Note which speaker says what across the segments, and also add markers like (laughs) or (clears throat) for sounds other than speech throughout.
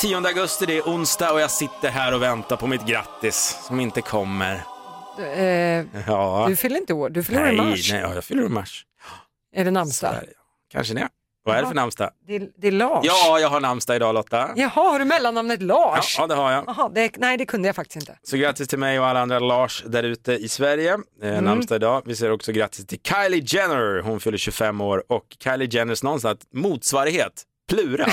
Speaker 1: 10 augusti, det är onsdag och jag sitter här och väntar på mitt grattis som inte kommer.
Speaker 2: Eh,
Speaker 1: Ja.
Speaker 2: du fyller inte år, du fyller år
Speaker 1: nej,
Speaker 2: i mars.
Speaker 1: nej, ja, jag fyller i mars.
Speaker 2: Är det
Speaker 1: Så
Speaker 2: namnsdag?
Speaker 1: är det. Kanske det. Vad är det för namnsdag?
Speaker 2: Det, är- det är Lars.
Speaker 1: Ja, jag har namnsdag idag Lotta.
Speaker 2: Jaha, har du mellannamnet Lars?
Speaker 1: ja, det har jag.
Speaker 2: Jaha, det, nej det kunde jag faktiskt inte.
Speaker 1: Så grattis till mig och alla andra Lars där ute i Sverige. Eh,
Speaker 2: Mm.
Speaker 1: Namnsdag idag. Vi säger också grattis till Kylie Jenner. Hon fyller 25 år och Kylie Jenners någonstans motsvarighet,
Speaker 2: (laughs)
Speaker 1: Plura.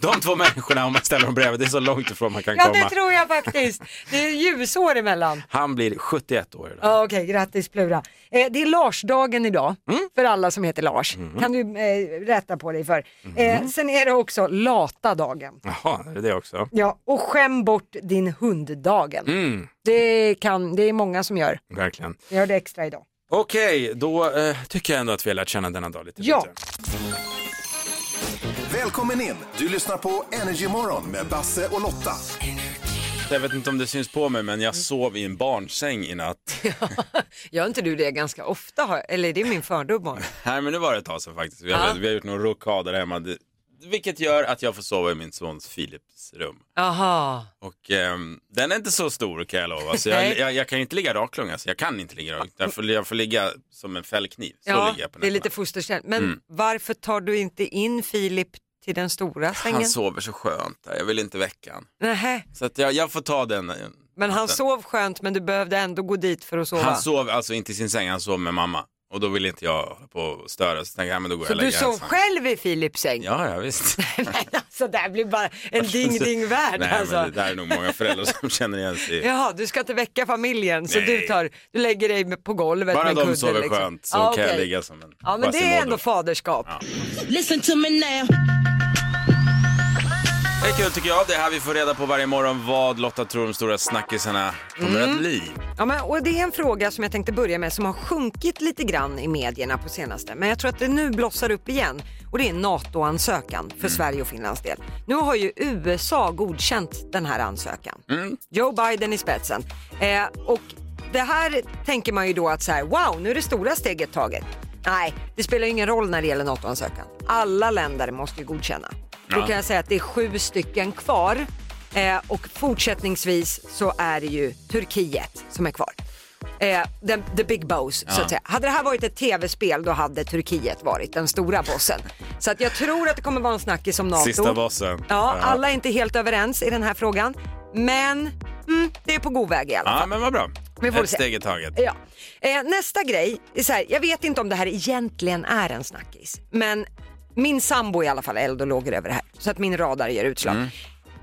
Speaker 1: de, de två människorna om man ställer dem bredvid, det är så långt ifrån man kan
Speaker 2: Ja,
Speaker 1: komma.
Speaker 2: det tror jag faktiskt. Det är ljusår emellan.
Speaker 1: Han blir 71 år idag.
Speaker 2: Ja, Okej, grattis Plura. Eh, det är Larsdagen idag,
Speaker 1: Mm.
Speaker 2: för alla som heter Lars. kan du eh, rätta på dig för.
Speaker 1: Mm.
Speaker 2: Eh, sen är det också lata dagen.
Speaker 1: Jaha, är det det också?
Speaker 2: Ja, och skäm bort din hunddagen.
Speaker 1: Mm,
Speaker 2: Det, kan, det är många som gör.
Speaker 1: verkligen.
Speaker 2: Jag gör det extra idag.
Speaker 1: Okej, då eh, tycker jag ändå att vi har lärt känna denna dag lite
Speaker 2: Ja.
Speaker 1: bättre.
Speaker 3: Välkommen in! Du lyssnar på Energy Morgon med Basse och Lotta.
Speaker 1: Jag vet inte om det syns på mig, men jag
Speaker 2: Mm.
Speaker 1: sov i en barnsäng i natt.
Speaker 2: Gör inte du det ganska ofta? har jag- Eller det är min fördom bara.
Speaker 1: Nej, men nu var det ett tag sedan faktiskt. Vi har,
Speaker 2: Ja.
Speaker 1: vi har gjort några rockader hemma. Det- Vilket gör att jag får sova i min sons Philips rum.
Speaker 2: Aha.
Speaker 1: Och ehm, den är inte så stor kan jag lova. Så jag,
Speaker 2: Nej.
Speaker 1: jag, jag kan inte ligga raklång alltså. Jag kan inte ligga raklång. Jag får, jag får ligga som en fällkniv. Så
Speaker 2: Ja,
Speaker 1: ligger jag på
Speaker 2: det är lite
Speaker 1: nätterna.
Speaker 2: fosterställd. Men
Speaker 1: Mm.
Speaker 2: varför tar du inte in Filip till den stora sängen?
Speaker 1: Han sover så skönt där. Jag vill inte väcka han.
Speaker 2: Nähä.
Speaker 1: Så att jag, jag får ta den. eh,
Speaker 2: Men han
Speaker 1: natten.
Speaker 2: sov skönt men du behövde ändå gå dit för att sova.
Speaker 1: Han sov alltså inte i sin säng, han sov med mamma. Och då vill inte jag hålla på och störa. Så tänkte jag, ja, men då går
Speaker 2: så
Speaker 1: jag och
Speaker 2: du
Speaker 1: lägger
Speaker 2: sov
Speaker 1: hans hand.
Speaker 2: själv i Filips säng? (laughs)
Speaker 1: Ja, ja visst.
Speaker 2: alltså det här
Speaker 1: (laughs)
Speaker 2: blir bara en ding-ding-värld
Speaker 1: Nej,
Speaker 2: alltså.
Speaker 1: men det där är nog många föräldrar som (laughs) känner igen sig i.
Speaker 2: Jaha, du ska inte väcka familjen så
Speaker 1: Nej.
Speaker 2: du, tar, du lägger dig med- på golvet med
Speaker 1: Bara
Speaker 2: en kudde.
Speaker 1: de sover
Speaker 2: liksom.
Speaker 1: skönt så
Speaker 2: Ja,
Speaker 1: kan jag
Speaker 2: okej.
Speaker 1: ligga som en
Speaker 2: Ja men det är
Speaker 1: Quasimodo.
Speaker 2: ändå faderskap.
Speaker 4: Listen to me now.
Speaker 1: Det är kul tycker jag. Det är här vi får reda på varje morgon vad Lotta tror de stora snackisarna
Speaker 2: Mm.
Speaker 1: kommer att bli.
Speaker 2: Ja, men, och det är en fråga som jag tänkte börja med som har sjunkit lite grann i medierna på senaste. Men jag tror att det nu blossar upp igen och det är NATO-ansökan för Sverige och Finlands del. Nu har ju USA godkänt den här ansökan. Joe Biden i spetsen. Eh, och det här tänker man ju då att så här, wow, nu är det stora steget taget. Nej, det spelar ju ingen roll när det gäller NATO-ansökan. Alla länder måste ju godkänna. Då kan jag säga att det är sju stycken kvar eh, och fortsättningsvis så är det ju Turkiet som är kvar. Eh, the, the big boss, så att säga. Hade det här varit ett tv-spel då hade Turkiet varit den stora bossen. Så att jag tror att det kommer vara en snackis om NATO.
Speaker 1: Sista bossen.
Speaker 2: Ja, alla är inte helt överens i den här frågan. Men mm, det är på god väg i alla fall.
Speaker 1: Ja, men vad bra.
Speaker 2: Vi får
Speaker 1: Ett
Speaker 2: se.
Speaker 1: steg i taget.
Speaker 2: Ja. Eh, nästa grej, är så här, jag vet inte om det här egentligen är en snackis, men min sambo i alla fall är eld och lågor över det här, så att min radar ger utslag.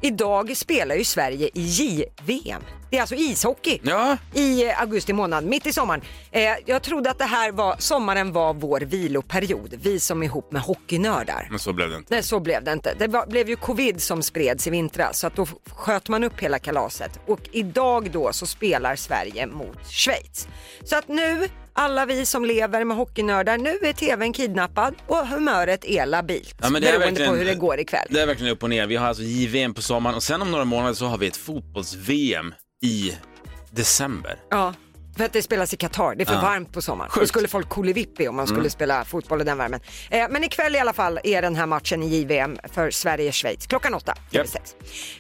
Speaker 2: Idag spelar ju Sverige i JVM. Det är alltså ishockey
Speaker 1: Ja.
Speaker 2: i eh, augusti månad, mitt i sommaren. Eh, jag trodde att det här var, sommaren var vår viloperiod, vi som är ihop med hockeynördar.
Speaker 1: Men så blev det inte.
Speaker 2: Nej, så blev det inte. Det var, blev ju covid som spreds i vintras så att då f- sköt man upp hela kalaset. Och idag då så spelar Sverige mot Schweiz. Så att nu, alla vi som lever med hockeynördar, nu är tvn kidnappad och humöret är labilt.
Speaker 1: Ja, men det är
Speaker 2: beroende
Speaker 1: verkligen-
Speaker 2: på hur det går ikväll.
Speaker 1: Det är verkligen upp och ner. Vi har alltså JVM på sommaren och sen om några månader så har vi ett fotbolls-VM i december.
Speaker 2: Ja, för att det spelas i Qatar. Det är för varmt på sommaren. Då
Speaker 1: Sjukt. Mm.
Speaker 2: skulle folk kolivippi om man skulle spela fotboll i den värmen. Eh, men ikväll i alla fall är den här matchen i JVM för Sverige-Schweiz klockan åtta.
Speaker 1: Japp.
Speaker 2: TV6.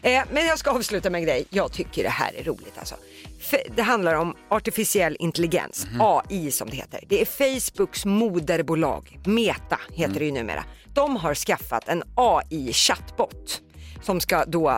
Speaker 2: Eh, men jag ska avsluta med en grej. Jag tycker det här är roligt alltså. För det handlar om artificiell intelligens,
Speaker 1: Mhm.
Speaker 2: AI som det heter. Det är Facebooks moderbolag, Meta heter det ju
Speaker 1: Mm.
Speaker 2: numera. De har skaffat en AI-chattbot som ska då eh,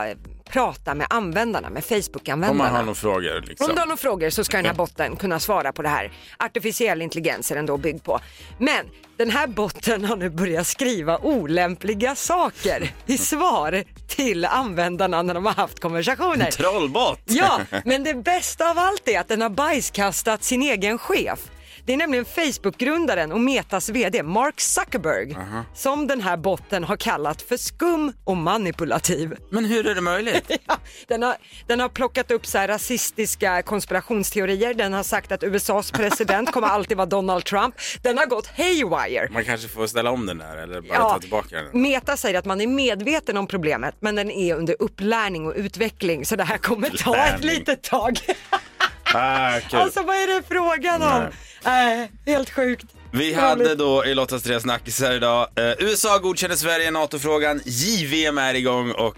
Speaker 2: prata med användarna,
Speaker 1: Om
Speaker 2: med
Speaker 1: man
Speaker 2: Facebook-användarna.
Speaker 1: har några frågor liksom.
Speaker 2: Om du har några frågor så ska den här botten kunna svara på det här. Artificiell intelligens är den då byggd på. Men den här botten har nu börjat skriva olämpliga saker i svar till användarna när de har haft konversationer.
Speaker 1: Trollbot!
Speaker 2: Ja, men det bästa av allt är att den har bajskastat sin egen chef. Det är nämligen Facebook-grundaren och Metas VD Mark Zuckerberg som den här botten har kallat för skum och manipulativ.
Speaker 1: Men hur är det möjligt?
Speaker 2: Ja, (laughs) den, har, den har plockat upp så här rasistiska konspirationsteorier. Den har sagt att USAs president kommer alltid vara Donald Trump. Den har gått haywire.
Speaker 1: Man kanske får ställa om den där eller bara ta tillbaka den.
Speaker 2: Meta säger att man är medveten om problemet men den är under upplärning och utveckling så det här kommer ta ett
Speaker 1: Lärning.
Speaker 2: litet tag.
Speaker 1: Ah, kul.
Speaker 2: Alltså vad är det frågan om? Nej, helt sjukt.
Speaker 1: Vi hade då i Lottas tre snackisar idag, eh, USA godkänner Sverige i NATO-frågan, JVM är igång och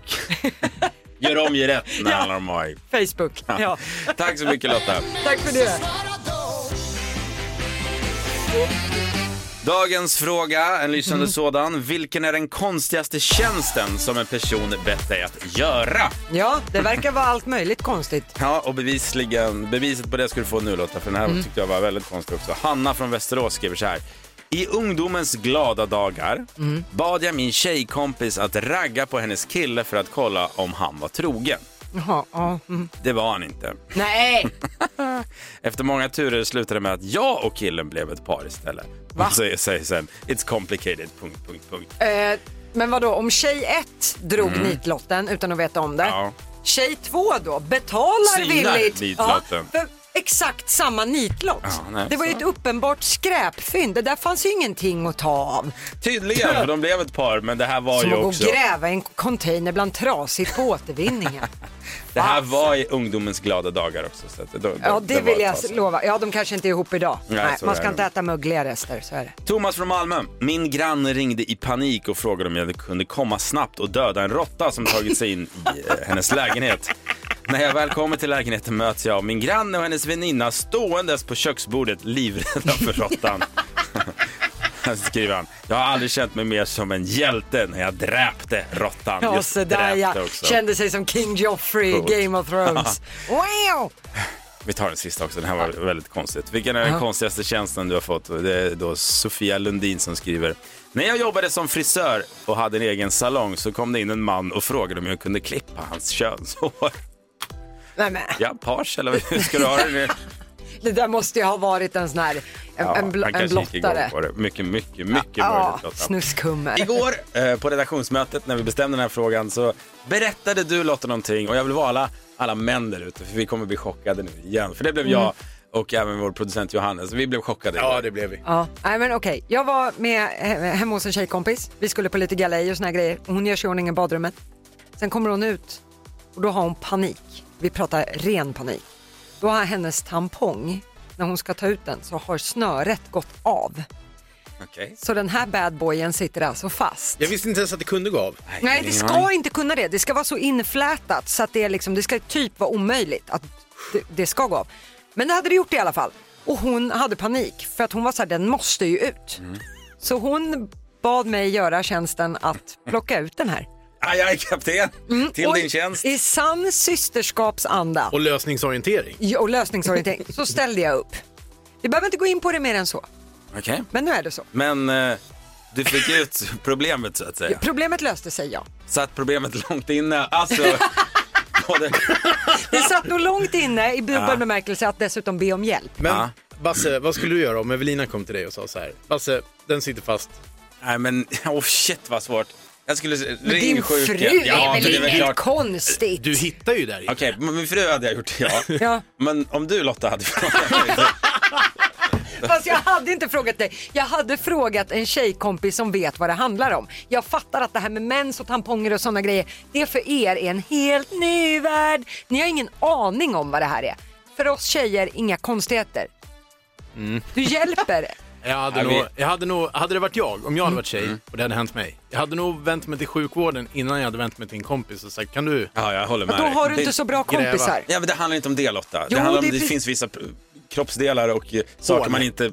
Speaker 1: (laughs) gör om, gör rätt när det handlar om AI.
Speaker 2: Facebook. Ja.
Speaker 1: Tack så mycket Lotta.
Speaker 2: Tack för det.
Speaker 1: Dagens fråga, en lysande sådan. Vilken är den konstigaste tjänsten som en person bett dig att göra?
Speaker 2: Ja, det verkar vara allt möjligt konstigt.
Speaker 1: Ja, och bevisligen, beviset på det ska du få nu Lotta, för den här tyckte jag var väldigt konstig också. Hanna från Västerås skriver så här. I ungdomens glada dagar bad jag min tjejkompis att ragga på hennes kille för att kolla om han var trogen.
Speaker 2: Jaha, ja. Mm.
Speaker 1: Det var han inte.
Speaker 2: Nej,
Speaker 1: Efter många turer slutade det med att jag och killen blev ett par istället. Va? Så jag säger sen, it's complicated, punkt, punkt, punkt.
Speaker 2: eh, men vadå, om tjej 1 drog nitlotten utan att veta om det.
Speaker 1: Mm. Ja.
Speaker 2: Tjej 2 då betalar
Speaker 1: Synar
Speaker 2: villigt
Speaker 1: nitlotten.
Speaker 2: Ja, för exakt samma nitlott.
Speaker 1: Ja, nej,
Speaker 2: det var ju
Speaker 1: så.
Speaker 2: ett uppenbart skräpfynd. Det där fanns ju ingenting att ta av.
Speaker 1: Tydligen, för de blev ett par, men det här var
Speaker 2: Som
Speaker 1: ju
Speaker 2: att gå och
Speaker 1: också...
Speaker 2: gräva i en container bland trasigt
Speaker 1: (laughs)
Speaker 2: på återvinningen.
Speaker 1: Det här var i ungdomens glada dagar också. Så att det, då-
Speaker 2: Ja, det,
Speaker 1: var
Speaker 2: vill
Speaker 1: ett
Speaker 2: jag
Speaker 1: tag sedan.
Speaker 2: lova. Ja, de kanske inte är ihop idag.
Speaker 1: Nej,
Speaker 2: Nej,
Speaker 1: så
Speaker 2: man
Speaker 1: är
Speaker 2: ska
Speaker 1: det.
Speaker 2: inte äta mögliga rester, så är det.
Speaker 1: Thomas från Malmö. Min granne ringde i panik och frågade om jag kunde komma snabbt och döda en råtta som tagit sig in i eh, hennes lägenhet. När jag väl kommer till lägenheten möts jag av min granne och hennes väninna ståendes på köksbordet livrädda för råttan. (laughs) Här skriver han. Jag har aldrig känt mig mer som en hjälte när jag dräpte råttan.
Speaker 2: Ja,
Speaker 1: Just
Speaker 2: så där
Speaker 1: dräpte
Speaker 2: ja.
Speaker 1: också.
Speaker 2: Kände sig som King Joffrey
Speaker 1: Coolt.
Speaker 2: i Game
Speaker 1: (laughs)
Speaker 2: of Thrones. wow!
Speaker 1: Vi tar den sista också, den här var väldigt konstigt. Vilken är den konstigaste tjänsten du har fått? Det är då Sofia Lundin som skriver. När jag jobbade som frisör och hade en egen salong så kom det in en man och frågade om jag kunde klippa hans könshår.
Speaker 2: Nej, men,
Speaker 1: Ja, page eller hur ska du ha det? nu?
Speaker 2: (laughs) det där måste ju ha varit en sån här, en,
Speaker 1: Ja,
Speaker 2: en, bl-
Speaker 1: han
Speaker 2: en
Speaker 1: kanske gick igång
Speaker 2: blottare.
Speaker 1: på det. Mycket, mycket, mycket
Speaker 2: Ja,
Speaker 1: möjligt. Lotta.
Speaker 2: snuskhummer.
Speaker 1: Igår eh, på redaktionsmötet när vi bestämde den här frågan så berättade du Lotta någonting och jag vill vala alla män där ute för vi kommer bli chockade nu igen. För det blev jag och även vår producent Johannes. Vi blev chockade.
Speaker 5: Ja, det blev vi.
Speaker 2: Mm. Ja, nej men okej. Jag var med he- hemma hos en tjejkompis. Vi skulle på lite galej och såna här grejer. Hon gör sig i ordning i badrummet. Sen kommer hon ut och då har hon panik. Vi pratar ren panik. Då har hennes tampong, när hon ska ta ut den, så har snöret gått av.
Speaker 1: Okej.
Speaker 2: Så den här badboyen sitter alltså fast.
Speaker 5: Jag visste inte ens att det kunde gå av.
Speaker 2: Nej, det ska inte kunna det. Det ska vara så inflätat så att det, är liksom, det ska typ vara omöjligt att det, det ska gå av. Men det hade det gjort i alla fall. Och hon hade panik för att hon var så här, den måste ju ut.
Speaker 1: Mm.
Speaker 2: Så hon bad mig göra tjänsten att plocka ut den här.
Speaker 1: Aj, aj, Ah, kapten. Till
Speaker 2: Och
Speaker 1: din tjänst.
Speaker 2: I sann systerskapsanda
Speaker 5: Och lösningsorientering.
Speaker 2: och lösningsorientering så ställde jag upp. Vi behöver inte gå in på det mer än så,
Speaker 1: Okej.
Speaker 2: men nu är det så.
Speaker 1: Men eh, du fick ut problemet så att säga.
Speaker 2: Problemet löste sig, ja.
Speaker 1: Satt problemet långt inne.
Speaker 2: (laughs)
Speaker 1: Alltså, både...
Speaker 2: Det satt nog långt inne i dubbel
Speaker 1: Ja.
Speaker 2: bemärkelse att dessutom be om hjälp.
Speaker 5: Men
Speaker 1: Ja.
Speaker 5: Basse, vad skulle du göra om Evelina kom till dig och sa så här? Basse, den sitter fast.
Speaker 1: Nej men, oh shit vad svårt. Jag skulle...
Speaker 2: Men Din fru är väl inget konstigt?
Speaker 5: Du hittar ju där i.
Speaker 1: Okej, men min fru hade jag gjort ja.
Speaker 2: (laughs) Ja.
Speaker 1: Men om du Lotta
Speaker 2: (laughs)
Speaker 1: hade frågat mig.
Speaker 2: Fast jag hade inte frågat dig. Jag hade frågat en tjejkompis som vet vad det handlar om. Jag fattar att det här med mens och tamponger och sådana grejer, det för er är en helt ny värld. Ni har ingen aning om vad det här är. För oss tjejer, inga konstigheter. Du hjälper.
Speaker 5: Jag hade,
Speaker 1: Ja, vi-
Speaker 5: nog, jag hade nog, hade det varit jag, om jag hade varit tjej och det hade hänt mig. Jag hade nog vänt mig till sjukvården innan jag hade vänt mig till en kompis och sagt, kan du?
Speaker 1: Ja, jag håller med
Speaker 2: Men då
Speaker 1: dig.
Speaker 2: har du
Speaker 1: Det-
Speaker 2: inte så bra
Speaker 5: gräva.
Speaker 2: kompisar.
Speaker 1: Ja, men det handlar inte om det Lotta.
Speaker 2: Jo,
Speaker 1: det handlar om
Speaker 2: det
Speaker 1: det,
Speaker 2: är precis-
Speaker 1: finns vissa p- kroppsdelar och eh, saker man
Speaker 2: (laughs)
Speaker 1: inte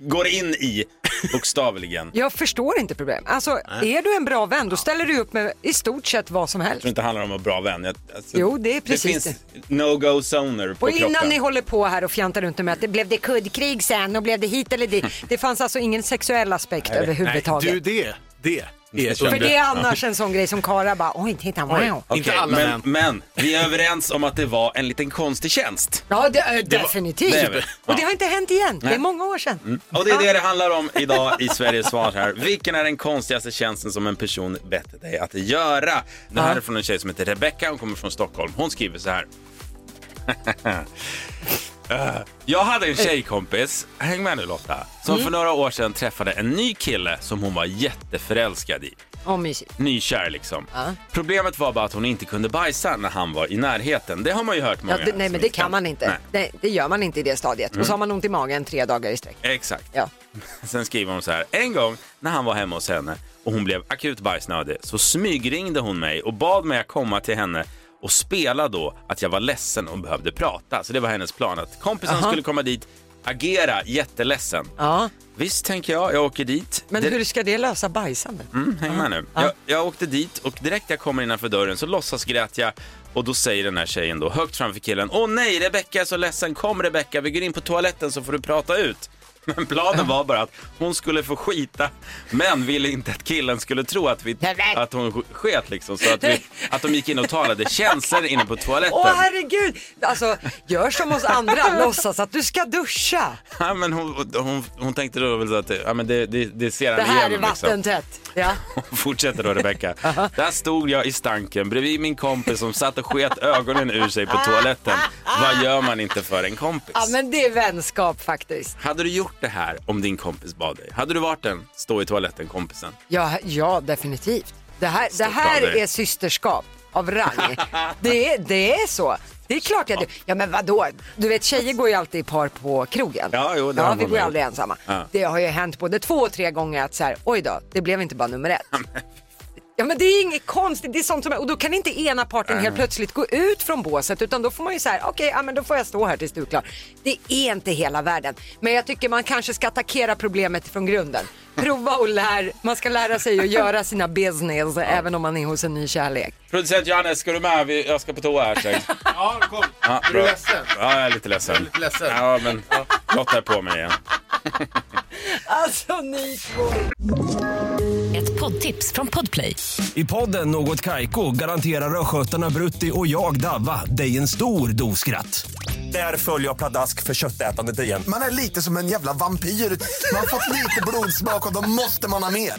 Speaker 1: går in i
Speaker 2: (laughs)
Speaker 1: bokstavligen.
Speaker 2: Jag förstår inte problem. Alltså, är du en bra vän, då ställer du upp med i stort sett vad som helst.
Speaker 1: tror inte det handlar om att vara bra vän. Jag, alltså,
Speaker 2: Jo, det är precis
Speaker 1: finns no-go-zoner på
Speaker 2: Och innan
Speaker 1: kroppen.
Speaker 2: ni håller på här och fjantar runt med att det blev det kuddkrig sen och blev det hit eller dit. Det fanns alltså ingen sexuell aspekt
Speaker 5: Nej,
Speaker 2: överhuvudtaget.
Speaker 5: du det, det är ett
Speaker 2: För
Speaker 5: under.
Speaker 2: det är annars en sån grej som Kara bara, oj titta wow.
Speaker 1: Okej,
Speaker 5: Inte alla
Speaker 1: men,
Speaker 5: män.
Speaker 1: men vi är överens om att det var en liten konstig tjänst.
Speaker 2: Ja det är
Speaker 5: var-
Speaker 2: definitivt.
Speaker 1: det är väl-
Speaker 2: och det har inte hänt igen, det
Speaker 1: Nej.
Speaker 2: är många år sedan.
Speaker 1: Och det är det det handlar om idag i Sveriges svar här. Vilken är den konstigaste tjänsten som en person bett dig att göra? Det här är från en tjej som heter Rebecca, hon kommer från Stockholm. Hon skriver så här. (laughs) Eh, Jag hade en tjejkompis,
Speaker 2: Mm.
Speaker 1: häng med nu Lotta, som för några år sedan träffade en ny kille som hon var jätteförälskad i.
Speaker 2: Åh, mysigt.
Speaker 1: nykär liksom.
Speaker 2: Ja.
Speaker 1: Problemet var bara att hon inte kunde bajsa när han var i närheten. Det har man ju hört många.
Speaker 2: Ja, det, nej,
Speaker 1: som
Speaker 2: men det kan man inte.
Speaker 1: Nej.
Speaker 2: Det, det gör man inte i det stadiet. Och så har man ont i magen tre dagar i sträck.
Speaker 1: Exakt.
Speaker 2: Ja.
Speaker 1: (laughs) Sen skriver hon så här. En gång när han var hemma hos henne och hon blev akut bajsnödig så smygringde hon mig och bad mig att komma till henne och spela då att jag var ledsen och behövde prata. Så det var hennes plan att kompisen skulle komma dit, agera jätteledsen.
Speaker 2: Ja.
Speaker 1: Visst tänker jag, jag åker dit.
Speaker 2: Men
Speaker 1: Det-
Speaker 2: hur ska det lösa bajsandet?
Speaker 1: Mm, häng med nu. Jag, jag åkte dit och direkt jag kommer innanför dörren så låtsas grät jag och då säger den här tjejen då högt framför killen Åh nej, Rebecka är så ledsen. Kom Rebecka, vi går in på toaletten så får du prata ut. (laughs) Men planen var bara att hon skulle få skita men ville inte att killen skulle tro att, vi, att hon sk- sket liksom. Så att, vi, att de gick in och talade känslor inne på toaletten.
Speaker 2: Åh herregud! Alltså, gör som oss andra, (laughs) låtsas att du ska duscha.
Speaker 1: ja, men hon, hon, hon tänkte då väl så att ja, men det, det, det ser han
Speaker 2: Det här är
Speaker 1: igenom, liksom.
Speaker 2: vattentätt. Ja.
Speaker 1: (laughs) Fortsätter då Rebecka. Där stod jag i stanken bredvid min kompis som satt och sket ögonen ur sig på toaletten. Vad gör man inte för en kompis?
Speaker 2: ja, men det är vänskap faktiskt.
Speaker 1: Hade du gjort det här om din kompis bad dig? Hade du varit den stå i toaletten kompisen?
Speaker 2: Ja, ja definitivt. Det här, det här
Speaker 1: av dig.
Speaker 2: är systerskap av rang. det, är, det är så. Det är klart jag Ja men vadå? Du vet tjejer går ju alltid i par på krogen.
Speaker 1: Ja, jo, det har
Speaker 2: ja
Speaker 1: man
Speaker 2: vi går ju
Speaker 1: gjort.
Speaker 2: aldrig ensamma.
Speaker 1: Ja.
Speaker 2: Det har ju hänt både två och tre gånger att så här, oj då, det blev inte
Speaker 1: (laughs)
Speaker 2: bara nummer ett. Ja men det är inget konstigt, det är sånt som är, och då kan inte ena parten helt plötsligt gå ut från båset utan då får man ju säga okej, ja, men då får jag stå här tills du är klar. Det är inte hela världen, men jag tycker man kanske ska attackera problemet från grunden. Prova och lär, man ska lära sig att göra sina business även om man är hos en ny kärlek.
Speaker 1: Producent Johannes, ska du med? Vi- Jag ska på toa här sen.
Speaker 5: Ja, kom.
Speaker 1: Ja,
Speaker 5: Är du
Speaker 1: bra.
Speaker 5: ledsen?
Speaker 1: Ja, jag är lite ledsen.
Speaker 5: är lite ledsen.
Speaker 1: Ja, men Lotta är på mig igen.
Speaker 2: Alltså ni två.
Speaker 6: Ett poddtips från Podplay.
Speaker 7: I podden Något Kaiko garanterar östgötarna Brutti och jag, Davva, dig en stor dos skratt. Där följer jag pladask för köttätandet igen.
Speaker 8: Man är lite som en jävla vampyr. Man har fått lite blodsmak och då måste man ha mer.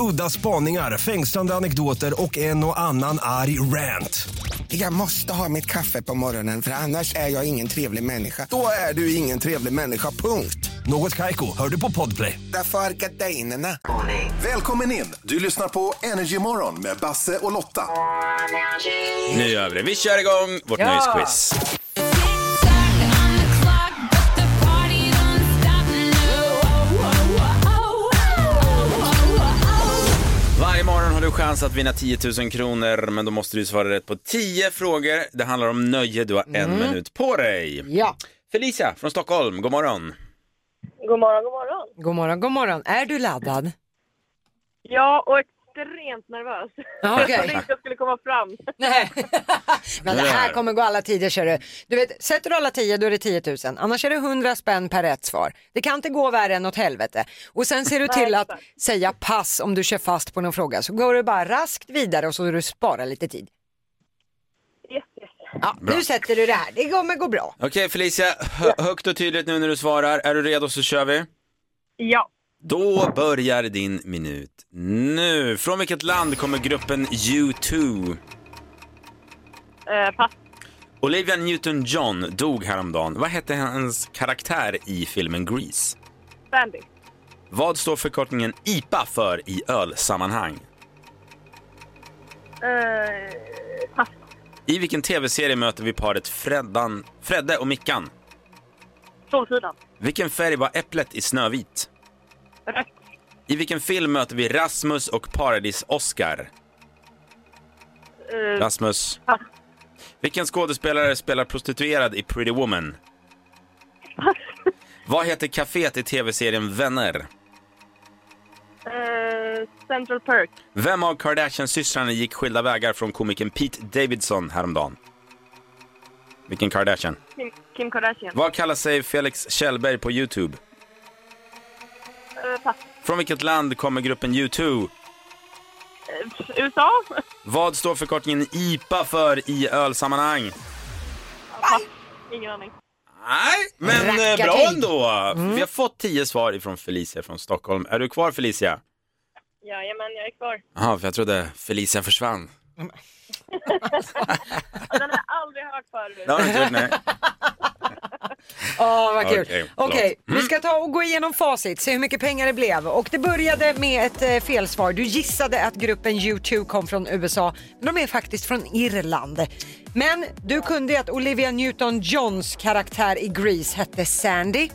Speaker 7: Udda spaningar, fängslande anekdoter och en och annan arg rant.
Speaker 8: Jag måste ha mitt kaffe på morgonen för annars är jag ingen trevlig människa. Då är du ingen trevlig människa, punkt.
Speaker 7: Något Kaiko, hör du på Podplay.
Speaker 8: Därför är gardinerna.
Speaker 3: Välkommen in! Du lyssnar på Energy Morgon med Basse och Lotta.
Speaker 1: Nu gör vi det. Vi kör igång vårt
Speaker 2: Ja.
Speaker 1: nöjesquiz. Varje morgon har du chans att vinna 10 000 kronor, men då måste du svara rätt på 10 frågor. Det handlar om nöje, du har en minut på dig.
Speaker 2: Ja,
Speaker 1: Felicia från Stockholm, god morgon.
Speaker 9: God morgon, god morgon.
Speaker 2: god morgon, god morgon. Är du laddad?
Speaker 9: Ja, och extremt nervös. (laughs)
Speaker 2: Ja, okej.
Speaker 9: Jag trodde inte jag skulle komma fram. (laughs)
Speaker 2: Nej. (laughs) Men det här
Speaker 1: Nej.
Speaker 2: kommer gå alla tider ser du. Du vet, sätter du alla 10 då är det 10 000. Annars är det 100 spänn per rätt svar. Det kan inte gå värre än åt helvete. Och sen ser du till att säga pass om du kör fast på någon fråga. Så går du bara raskt vidare och så du sparar lite tid.
Speaker 9: Yes, yes.
Speaker 2: Ja, nu sätter du det här. Det kommer gå bra.
Speaker 1: Okej Felicia, hö- högt och tydligt nu när du svarar. Är du redo så kör vi.
Speaker 9: Ja,
Speaker 1: Då börjar din minut nu. Från vilket land kommer gruppen U2?
Speaker 9: eh, pass.
Speaker 1: Olivia Newton-John dog häromdagen. Vad hette hennes karaktär i filmen Grease?
Speaker 9: Sandy.
Speaker 1: Vad står förkortningen IPA för i ölsammanhang?
Speaker 9: Eh, pass.
Speaker 1: I vilken tv-serie möter vi paret Freddan, Fredde och Mickan?
Speaker 9: Solsidan.
Speaker 1: Vilken färg var äpplet i Snövit?
Speaker 9: Rött.
Speaker 1: I vilken film möter vi Rasmus och Paradis-Oskar?
Speaker 9: Eh,
Speaker 1: Rasmus.
Speaker 9: pass.
Speaker 1: Vilken skådespelare spelar prostituerad i Pretty Woman? Vad heter kaféet i tv-serien Vänner?
Speaker 9: Eh, Central Perk.
Speaker 1: Vem av Kardashian-systrarna gick skilda vägar från komikern Pete Davidson häromdagen? Vilken Kardashian?
Speaker 9: Kim, Kim Kardashian.
Speaker 1: Vad kallar sig Felix Kjellberg på Youtube?
Speaker 9: Eh, pass.
Speaker 1: Från vilket land kommer gruppen U2?
Speaker 9: Eh, USA. (laughs)
Speaker 1: Vad står förkortningen IPA för i ölsammanhang?
Speaker 9: Ingen aning.
Speaker 1: Nej, men eh, bra
Speaker 2: Rackarting.
Speaker 1: ändå. Vi har fått tio svar ifrån Felicia från Stockholm. Är du kvar Felicia?
Speaker 9: Jajamän, jag är kvar.
Speaker 1: Ja, för jag trodde Felicia försvann.
Speaker 9: Den har jag aldrig hört förut.
Speaker 1: (laughs) Det har du inte gjort, nej.
Speaker 2: Ja, vad kul. Okej,
Speaker 1: Okej, förlåt.
Speaker 2: vi ska ta och gå igenom facit, se hur mycket pengar det blev. Och det började med ett eh, felsvar. Du gissade att gruppen U2 kom från USA, men de är faktiskt från Irland. Men du kunde ju att Olivia Newton-Johns karaktär i Grease hette Sandy.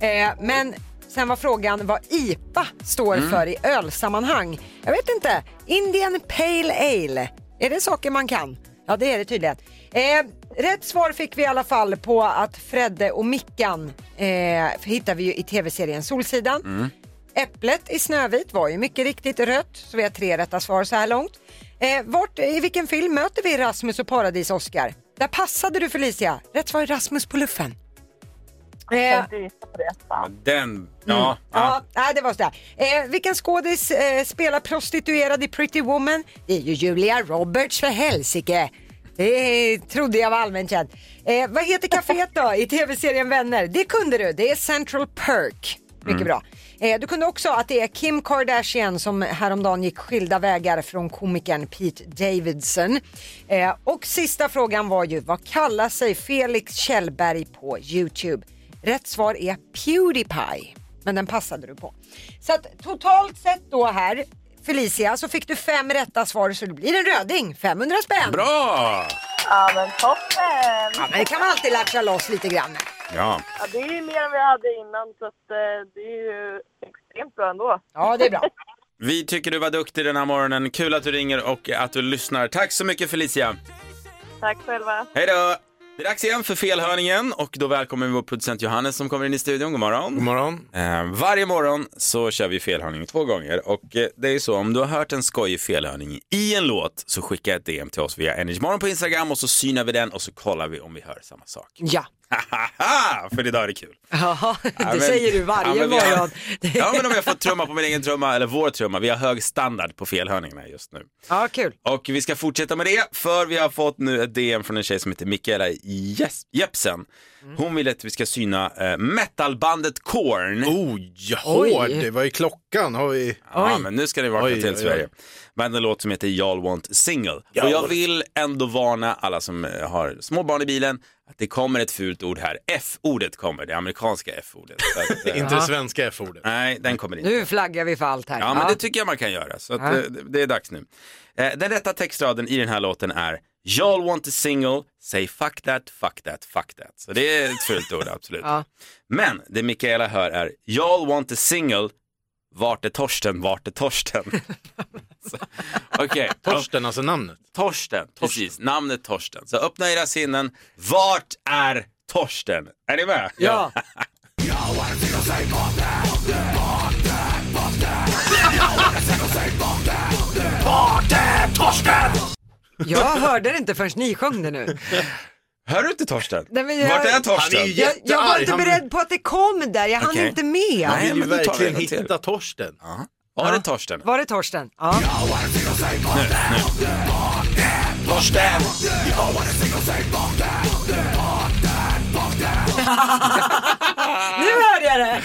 Speaker 2: Eh, men sen var frågan vad IPA står för i ölsammanhang. Jag vet inte. Indian Pale Ale. Är det saker man kan? Ja, det är det tydligen. Eh, rätt svar fick vi i alla fall på att Fredde och Mickan eh, hittar vi ju i tv-serien Solsidan. Äpplet i Snövit var ju mycket riktigt rött, så vi har tre rätta svar så här långt. Eh, vart, I vilken film möter vi Rasmus och Paradis-Oscar? Där passade du Felicia. Rätt svar är Rasmus på luffen. Eh,
Speaker 9: Tänkte gissa på det. Fan.
Speaker 1: Den, ja.
Speaker 2: Ja, nej, det var sådär. Eh, vilken skådis eh, spelar prostituerad i Pretty Woman? Det är ju Julia Roberts för helsike. Det eh, trodde jag var allmänt känt. Eh, vad heter kaféet då i tv-serien Vänner? Det kunde du. Det är Central Perk. Mycket bra. Eh, du kunde också att det är Kim Kardashian som häromdagen gick skilda vägar från komikern Pete Davidson. Eh, och sista frågan var ju vad kallar sig Felix Kjellberg på Youtube? Rätt svar är Pewdiepie, men den passade du på. Så att totalt sett då här, Felicia, så fick du fem rätta svar så det blir en röding, 500 spänn.
Speaker 1: Bra!
Speaker 9: Ja, men toppen!
Speaker 2: Ja, men det kan man alltid latcha loss lite grann.
Speaker 1: Ja.
Speaker 9: Ja, det är ju mer än vi hade innan, så att, eh, det är ju extremt bra ändå.
Speaker 2: Ja, det är bra.
Speaker 1: Vi tycker du var duktig den här morgonen. Kul att du ringer och att du lyssnar. Tack så mycket Felicia.
Speaker 9: Tack själva.
Speaker 1: Hej då! Det är dags igen för felhörningen och då välkomnar vi vår producent Johannes som kommer in i studion. God morgon.
Speaker 5: God morgon.
Speaker 1: Eh, varje morgon så kör vi felhörning två gånger och eh, det är ju så om du har hört en skojig felhörning i en låt så skicka ett DM till oss via Energymorgon på Instagram och så synar vi den och så kollar vi om vi hör samma sak.
Speaker 2: Ja.
Speaker 1: Hahaha! för idag är det kul.
Speaker 2: (laughs) Jaha, det
Speaker 1: Ja, men-
Speaker 2: säger du
Speaker 1: ja,
Speaker 2: varje
Speaker 1: men vi
Speaker 2: morgon.
Speaker 1: Har, (laughs) ja men om jag får trumma på min egen trumma eller vår trumma, vi har hög standard på felhörningarna just nu.
Speaker 2: (laughs) Ja, kul.
Speaker 1: Och vi ska fortsätta med det, för vi har fått nu ett DM från en tjej som heter Mikaela Jes- Jepsen.
Speaker 2: Mm.
Speaker 1: Hon vill att vi ska syna eh, metalbandet Korn.
Speaker 5: Oh, ja, hård. Det var ju klockan. Har vi...
Speaker 1: Ja, men nu ska ni vakna
Speaker 5: Oj,
Speaker 1: till
Speaker 5: oj, oj.
Speaker 1: Sverige. Med en låt som heter Y'all Want Single. Och jag vill ändå varna alla som eh, har små barn i bilen att det kommer ett fult ord här. F-ordet kommer, det amerikanska F-ordet. Så
Speaker 5: (laughs)
Speaker 1: att, eh,
Speaker 5: Inte det svenska F-ordet.
Speaker 1: Nej, den kommer inte.
Speaker 2: Nu flaggar vi för allt här.
Speaker 1: Ja, men det tycker jag man kan göra. Så att, eh, det- det är dags nu. Eh, Den rätta textraden i den här låten är Y'all want a single, say fuck that, fuck that, fuck that. Så det är ett fult ord, absolut.
Speaker 2: (laughs) Ja.
Speaker 1: Men det Mikaela hör är Y'all want a single, vart är Torsten, vart är
Speaker 2: (laughs)
Speaker 1: Torsten? Så, Okej, Torsten,
Speaker 5: Torsten, alltså namnet.
Speaker 1: Torsten, precis, namnet Torsten. Så öppna era sinnen, vart är Torsten? Är ni med?
Speaker 2: Ja. Jag hörde det inte förrän ni sjöng
Speaker 1: (laughs)
Speaker 2: det nu.
Speaker 1: Hör du inte Torsten?
Speaker 2: Nej, men jag-
Speaker 1: Vart är Torsten?
Speaker 5: Han är ju
Speaker 2: Jag, jag var
Speaker 5: Jättearg,
Speaker 2: inte
Speaker 5: han-
Speaker 2: beredd på att det kom där, jag hann
Speaker 1: Okej.
Speaker 2: inte med.
Speaker 1: Nej,
Speaker 5: Vi vill ju
Speaker 1: men då tar vi
Speaker 5: verkligen
Speaker 1: en till.
Speaker 5: hitta Torsten.
Speaker 1: Var är Torsten?
Speaker 2: Var det Torsten? Ja.
Speaker 1: Torsten!
Speaker 2: Nu hörde jag det!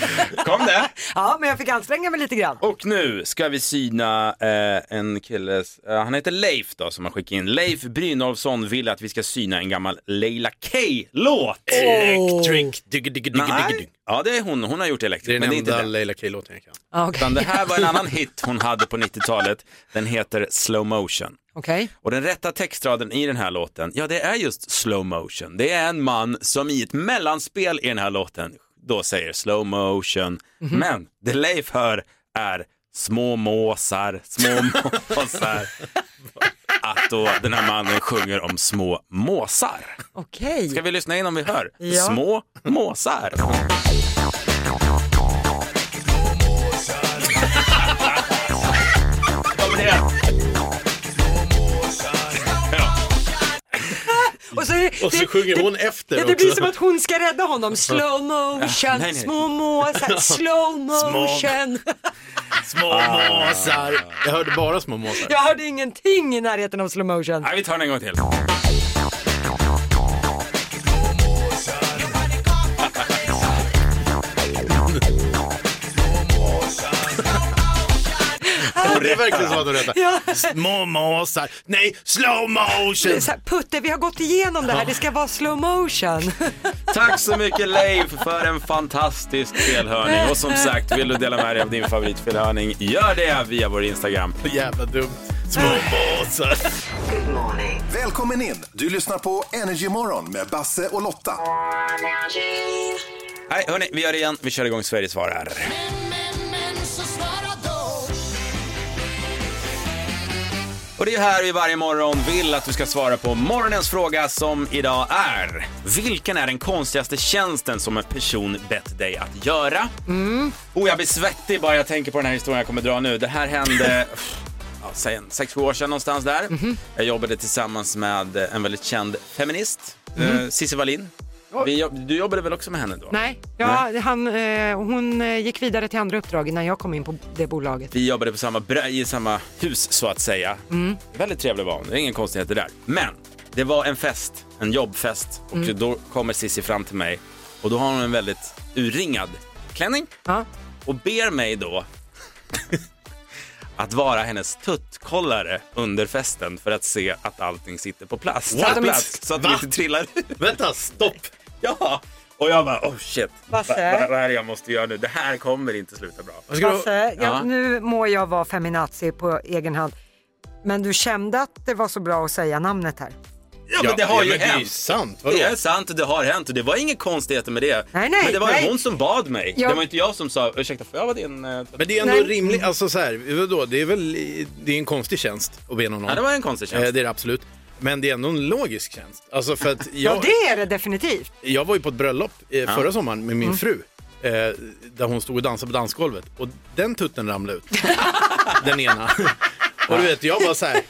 Speaker 1: Kom det?
Speaker 2: Ja, men jag fick anstränga mig lite grann.
Speaker 1: (laughs) Och nu ska vi syna eh, en killes, eh, han heter Leif då som har skickat in. Leif Brynolfsson vill att vi ska syna en gammal Leila K-låt.
Speaker 5: Electric. Digg, digg, digg, digg,
Speaker 1: Nej,
Speaker 5: digg.
Speaker 1: ja det är hon, hon har gjort
Speaker 5: Det
Speaker 1: Electric
Speaker 5: är
Speaker 1: men
Speaker 5: den
Speaker 1: det är inte
Speaker 5: enda
Speaker 1: den.
Speaker 5: Leila K-låten jag kan.
Speaker 2: Ja, Okej.
Speaker 1: Utan det här var en annan hit hon hade på 90-talet. Den heter Slow Motion.
Speaker 2: Okej.
Speaker 1: Och den rätta textraden i den här låten, ja det är just slow motion. Det är en man som i ett mellanspel i den här låten då säger slow motion. Men det Leif hör är små måsar, små måsar. Att då den här mannen sjunger om små måsar.
Speaker 2: Okej.
Speaker 1: Ska vi lyssna in om vi hör?
Speaker 2: Ja.
Speaker 1: Små måsar. Kom igen.
Speaker 2: Och så, det,
Speaker 5: Och så sjunger hon efter
Speaker 2: Ja, det blir
Speaker 5: också.
Speaker 2: som att hon ska rädda honom. Slow motion,
Speaker 1: nej, nej.
Speaker 2: små måsar, slow motion.
Speaker 5: Små måsar. Ah. Jag hörde bara små måsar.
Speaker 2: Jag hörde ingenting i närheten av slow motion.
Speaker 1: Nej, vi tar den en gång till.
Speaker 5: det är verkligen som att de
Speaker 2: Ja.
Speaker 5: rättar. Små måsar. Nej, slow
Speaker 2: Det är
Speaker 5: motion.
Speaker 2: så här, Putte, vi har gått igenom det här, det ska vara slow motion.
Speaker 1: Tack så mycket Leif för en fantastisk felhörning. Och som sagt, vill du dela med dig av din favoritfelhörning, gör det via vår Instagram.
Speaker 5: Jävla dumt. Små måsar.
Speaker 3: Välkommen in! Du lyssnar på Energy Morgon med Basse och Lotta.
Speaker 1: Nej, hörni, vi gör det igen. Vi kör igång Sverige svarar. Och det är här vi varje morgon vill att du ska svara på morgonens fråga som idag är. Vilken är den konstigaste tjänsten som en person bett dig att göra? Oh, jag blir svettig bara jag tänker på den här historien jag kommer dra nu. Det här hände ja, säg en 6-7 år sedan någonstans där. Jag jobbade tillsammans med en väldigt känd feminist, mm. Cissi Wallin. Vi, jobb- du jobbade väl också med henne då?
Speaker 2: Nej, ja, Han, eh, hon eh, gick vidare till andra uppdrag innan jag kom in på det bolaget.
Speaker 1: Vi jobbade på samma brä- i samma hus så att säga. Väldigt trevlig var hon, det är ingen konstighet det där. Men det var en fest, en jobbfest och då kommer Sissi fram till mig och då har hon en väldigt urringad klänning
Speaker 2: Ja.
Speaker 1: och ber mig då (laughs) att vara hennes tuttkollare under festen för att se att allting sitter på plats.
Speaker 5: What?
Speaker 1: På plats så att de
Speaker 5: Va?
Speaker 1: inte trillar ut. (laughs)
Speaker 5: Vänta, stopp.
Speaker 1: Ja. Och jag bara, oh shit, vad va,
Speaker 2: Basse?
Speaker 1: va, vad är det jag måste göra nu? Det här kommer inte sluta bra.
Speaker 5: Vad ska du-
Speaker 2: Basse, jag,
Speaker 1: Ja.
Speaker 2: nu må jag vara feminazi på egen hand. Men du kände att det var så bra att säga namnet här?
Speaker 1: Ja, men det har ju
Speaker 5: men Det är ju
Speaker 1: hänt.
Speaker 5: sant. Vadå?
Speaker 1: Det är sant och det har hänt och det var inga konstigheter med det.
Speaker 2: Nej, nej,
Speaker 1: men det var ju
Speaker 2: nej.
Speaker 1: hon som bad mig.
Speaker 2: Ja.
Speaker 1: Det var inte jag som sa ursäkta får jag vara din... eh,
Speaker 5: Men det är ändå
Speaker 2: Nej.
Speaker 5: rimligt. Alltså så här, vadå? Det är väl det är en konstig tjänst att be någon om.
Speaker 1: Ja, det var en konstig
Speaker 5: Eh,
Speaker 1: tjänst.
Speaker 5: Det är det absolut. Men det är ändå en logisk tjänst. Alltså för att
Speaker 2: Ja,
Speaker 5: jag,
Speaker 2: det är det definitivt.
Speaker 5: jag var ju på ett bröllop eh, förra sommaren med min
Speaker 1: Mm.
Speaker 5: fru. Eh, där hon stod och dansade på dansgolvet. Och den tutten
Speaker 1: (laughs)
Speaker 5: ramlade ut. den ena. och du vet, jag bara så här.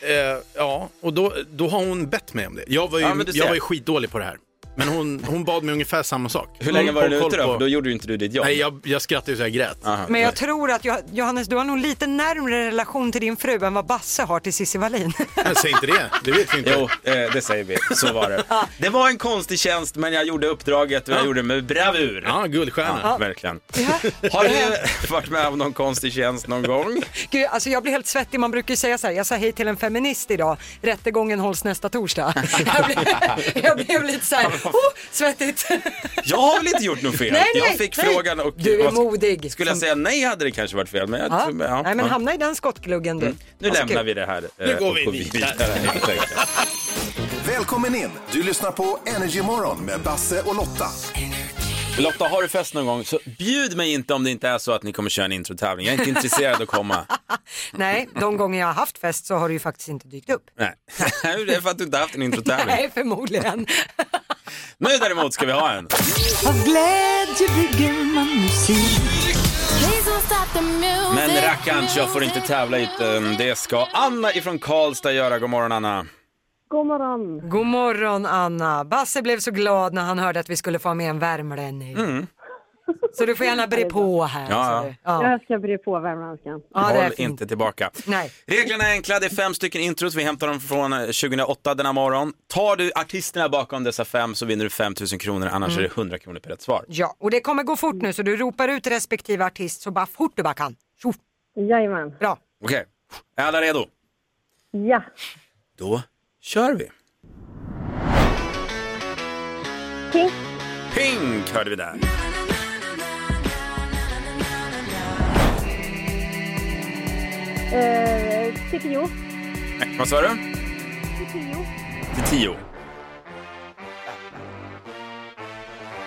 Speaker 5: Eh, ja, och då, då har hon bett mig om det. Jag var ju,
Speaker 1: Ja, men du ser.
Speaker 5: jag var ju skitdålig på det här. Men hon, hon bad mig ungefär samma sak.
Speaker 1: Hur länge
Speaker 5: Hon
Speaker 1: var du
Speaker 5: har
Speaker 1: ute då?
Speaker 5: koll
Speaker 1: För
Speaker 5: på-
Speaker 1: då gjorde ju inte du ditt jobb.
Speaker 5: Nej, jag, jag skrattade ju så jag grät.
Speaker 1: Aha,
Speaker 2: Men jag tror att Jo- Johannes, du har nog lite närmre relation till din fru än vad Basse har till Cissi Wallin.
Speaker 5: Men Säg inte det, det vet vi inte.
Speaker 1: Jo, eh, det säger vi. Så var
Speaker 2: (laughs)
Speaker 1: det. Det var en konstig tjänst men jag gjorde uppdraget och jag gjorde det med bravur.
Speaker 5: Ja, guldstjärna.
Speaker 1: Ja, Verkligen. Har
Speaker 2: (laughs)
Speaker 1: du varit med om någon konstig tjänst någon gång?
Speaker 2: Gud, alltså jag blir helt svettig, man brukar ju säga så här, jag sa hej till en feminist idag, rättegången hålls nästa torsdag. (laughs) Jag blev, jag blev
Speaker 1: (laughs)
Speaker 2: lite så här, oh, svettigt.
Speaker 1: Jag har väl inte gjort något fel?
Speaker 2: Nej, nej,
Speaker 1: jag fick
Speaker 2: nej.
Speaker 1: frågan och...
Speaker 2: Du är
Speaker 1: vad-
Speaker 2: modig.
Speaker 1: Skulle jag säga nej hade det kanske varit fel. Men jag,
Speaker 2: Ja.
Speaker 1: tror- ja,
Speaker 2: Nej men
Speaker 1: ja. Mm.
Speaker 2: hamna i den skottgluggen du.
Speaker 1: Nu
Speaker 2: Alltså,
Speaker 1: lämnar
Speaker 2: gud.
Speaker 1: vi det här. eh,
Speaker 5: Nu går
Speaker 1: och
Speaker 5: vi
Speaker 1: (laughs)
Speaker 5: vidare.
Speaker 1: helt enkelt.
Speaker 3: Välkommen in! Du lyssnar på Energy Morgon med Basse och Lotta.
Speaker 1: Lotta, har du fest någon gång så bjud mig inte om det inte är så att ni kommer köra en introtävling. Jag är inte intresserad av att komma.
Speaker 2: Nej,
Speaker 1: (laughs)
Speaker 2: de gånger jag har haft fest så har det ju faktiskt inte dykt upp.
Speaker 1: Nej, (laughs) det är för att du inte har haft en introtävling.
Speaker 2: (laughs) Nej, förmodligen.
Speaker 1: Nu däremot ska vi ha en. Men rackarns, jag får inte tävla ut den. Det ska Anna ifrån Karlstad göra. God morgon Anna.
Speaker 9: God morgon.
Speaker 2: God morgon Anna. Basse blev så glad när han hörde att vi skulle få med en värmlänning. Så du får gärna bre på här.
Speaker 1: Mm. Ja,
Speaker 2: sa
Speaker 1: ja.
Speaker 2: du. ja.
Speaker 9: Jag ska bre på värmländskan.
Speaker 2: ja det är
Speaker 1: Håll
Speaker 2: fint.
Speaker 1: inte tillbaka.
Speaker 2: Nej.
Speaker 1: Reglerna är enkla. Det är fem stycken intros. Vi hämtar dem från eh, 2008 denna morgon. Tar du artisterna bakom dessa fem så vinner du 5 000 kronor.
Speaker 2: Mm.
Speaker 1: Annars är det 100 kronor per rätt svar.
Speaker 2: Ja, och det kommer gå fort nu så du ropar ut respektive artist så bara fort du bara kan. Tjoff,
Speaker 9: Jajamän.
Speaker 2: bra.
Speaker 1: Okej, är alla redo?
Speaker 9: Ja.
Speaker 1: Då kör vi.
Speaker 9: Pink.
Speaker 1: Pink hörde vi där.
Speaker 9: Eh, CPO.
Speaker 1: Nej, vad sa du?
Speaker 9: CPO.
Speaker 1: Till tio.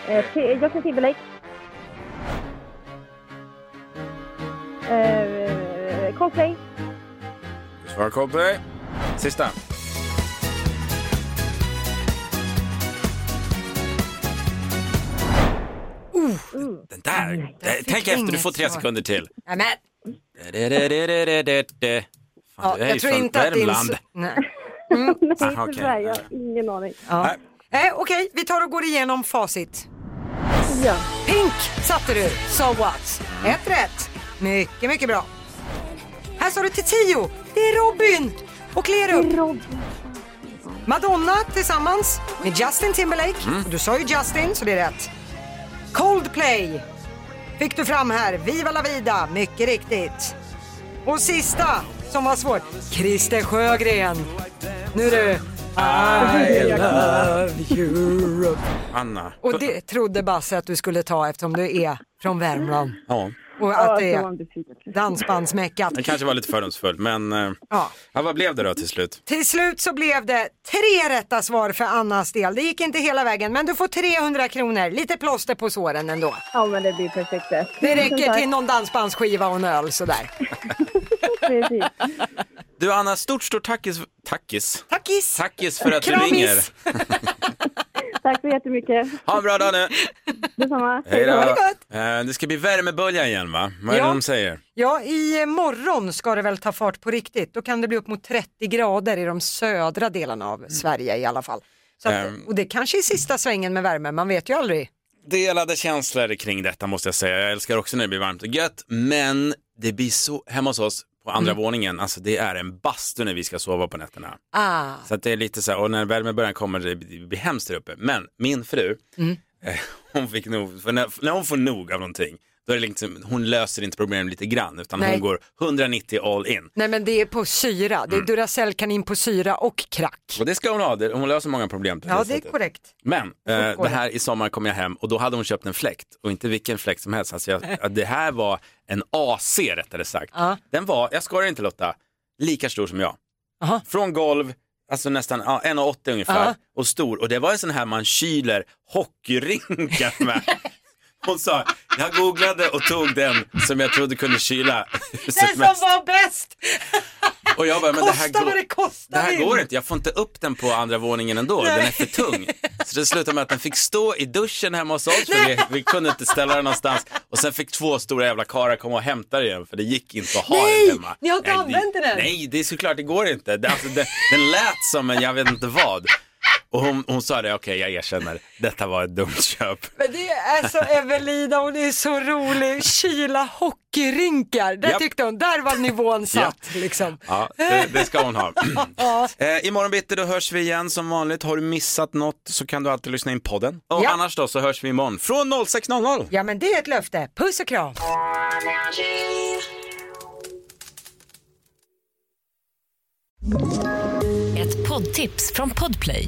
Speaker 9: Eh, T- Justin Timberlake. Eh, Coldplay. (laughs)
Speaker 1: Du svarar Coldplay. Sista. Den där. där Tänk
Speaker 2: fick
Speaker 1: efter, du
Speaker 2: inget
Speaker 1: får tre
Speaker 2: svar.
Speaker 1: sekunder till.
Speaker 2: Nämen.
Speaker 1: Fan,
Speaker 2: Ja,
Speaker 1: du är
Speaker 2: jag
Speaker 1: ju
Speaker 2: tror
Speaker 1: från
Speaker 2: inte att det är...
Speaker 1: Värmland.
Speaker 2: en- Nej.
Speaker 9: Nej,
Speaker 2: Ah,
Speaker 1: Aha, okej.
Speaker 9: tyvärr. Jag har ingen aning.
Speaker 2: Ja.
Speaker 1: Nej.
Speaker 2: Eh, Okej, vi tar och går igenom facit.
Speaker 9: Ja.
Speaker 2: Pink satte du, so what? Ett rätt. Mycket, mycket bra. Här står du till tio. Det är Robin och Lerup. Madonna tillsammans med Justin Timberlake. Och Du sa ju Justin, så det är rätt. Coldplay fick du fram här. Viva la vida, mycket riktigt. Och sista som var svår, Christer Sjögren. Nu du. I love Europe.
Speaker 1: Anna.
Speaker 2: Och det trodde Basse att du skulle ta eftersom du är från Värmland.
Speaker 1: Ja.
Speaker 2: Och att det
Speaker 9: det
Speaker 2: är
Speaker 9: var besviken.
Speaker 2: dansbandsmäckat.
Speaker 1: Det kanske var lite fördomsfull, men eh,
Speaker 2: Ja.
Speaker 1: ja, vad blev det då till slut?
Speaker 2: Till slut så blev det tre rätta svar för Annas del. Det gick inte hela vägen men du får 300 kronor, lite plåster på såren ändå.
Speaker 9: Ja, men det blir perfekt det.
Speaker 2: Det räcker till någon dansbandsskiva och en öl sådär.
Speaker 9: Precis.
Speaker 1: Du Anna, stort, stort tackis, tackis,
Speaker 2: Tackis!
Speaker 1: tackis för att
Speaker 2: Kramis.
Speaker 1: du ringer.
Speaker 9: Tack så jättemycket.
Speaker 1: Ha en bra dag nu.
Speaker 9: Detsamma.
Speaker 1: Hej då.
Speaker 2: Ha det gott.
Speaker 1: Eh, det ska bli värmebölja igen va? Vad är
Speaker 2: Ja.
Speaker 1: det de säger?
Speaker 2: Ja, i morgon ska det väl ta fart på riktigt. Då kan det bli upp mot 30 grader i de södra delarna av Sverige i alla fall. Så att,
Speaker 1: Ehm.
Speaker 2: och det kanske är sista svängen med värme, man vet ju aldrig.
Speaker 1: Delade känslor kring detta måste jag säga. Jag älskar också när det blir varmt och gött, men det blir så hemma hos oss på andra
Speaker 2: Mm.
Speaker 1: våningen, alltså det är en bastu när vi ska sova på nätterna.
Speaker 2: Ah,
Speaker 1: Så att det är lite så här, och när värmeböljan kommer det blir hemskt där uppe. Men min fru,
Speaker 2: Mm.
Speaker 1: eh, (laughs) hon fick nog, för när, när hon får nog av någonting, då är det liksom, hon löser inte problemen lite grann utan
Speaker 2: Nej.
Speaker 1: hon går 190 all in.
Speaker 2: nej men det är på syra,
Speaker 1: Mm.
Speaker 2: det är Duracellkanin på syra och krack.
Speaker 1: Och det ska hon ha, det, hon löser många problem. på
Speaker 2: Ja, det är
Speaker 1: sättet.
Speaker 2: korrekt.
Speaker 1: Men eh,
Speaker 2: går
Speaker 1: det här i sommar kom jag hem och då hade hon köpt en fläkt och inte vilken fläkt som helst. Alltså
Speaker 2: (laughs)
Speaker 1: jag, det här var en AC rättare sagt.
Speaker 2: Ja.
Speaker 1: Den var, jag skojar inte Lotta, lika stor som jag.
Speaker 2: Aha.
Speaker 1: Från golv, alltså nästan ja, 1,80 ungefär
Speaker 2: Ja.
Speaker 1: och stor. Och det var en sån här man kyler
Speaker 2: (laughs)
Speaker 1: hockeyrinkar med. Hon sa, jag googlade och tog den som jag trodde kunde kyla huset mest.
Speaker 2: var bäst!
Speaker 1: Och jag bara, men det här
Speaker 2: Kosta
Speaker 1: går,
Speaker 2: vad det kostar
Speaker 1: det här går
Speaker 2: in.
Speaker 1: inte, jag får inte upp den på andra våningen ändå, den är för tung. Så det slutade med att den fick stå i duschen hemma hos oss, för vi, vi kunde inte ställa den någonstans. Och sen fick två stora jävla karlar komma och hämta den igen, för det gick inte att ha
Speaker 2: Nej,
Speaker 1: den hemma.
Speaker 2: ni har inte
Speaker 1: det-
Speaker 2: använt den?
Speaker 1: Nej, det är såklart, det går inte. Det, alltså, det, den lät som en jag vet inte vad. Och hon, hon sa det, okej jag erkänner, detta var ett dumt köp.
Speaker 2: Men det är
Speaker 1: (laughs)
Speaker 2: så Evelina, hon är så rolig. Kyla hockeyrinkar, där
Speaker 1: Japp.
Speaker 2: tyckte hon, där var nivån satt liksom.
Speaker 1: Ja, det, det ska hon ha. (clears throat) eh, imorgon bitti då hörs vi igen som vanligt. Har du missat något så kan du alltid lyssna in podden. Och
Speaker 2: Ja.
Speaker 1: annars då så hörs vi imorgon från 06.00.
Speaker 2: Ja men det är ett löfte, puss och kram.
Speaker 6: Ett poddtips från Podplay.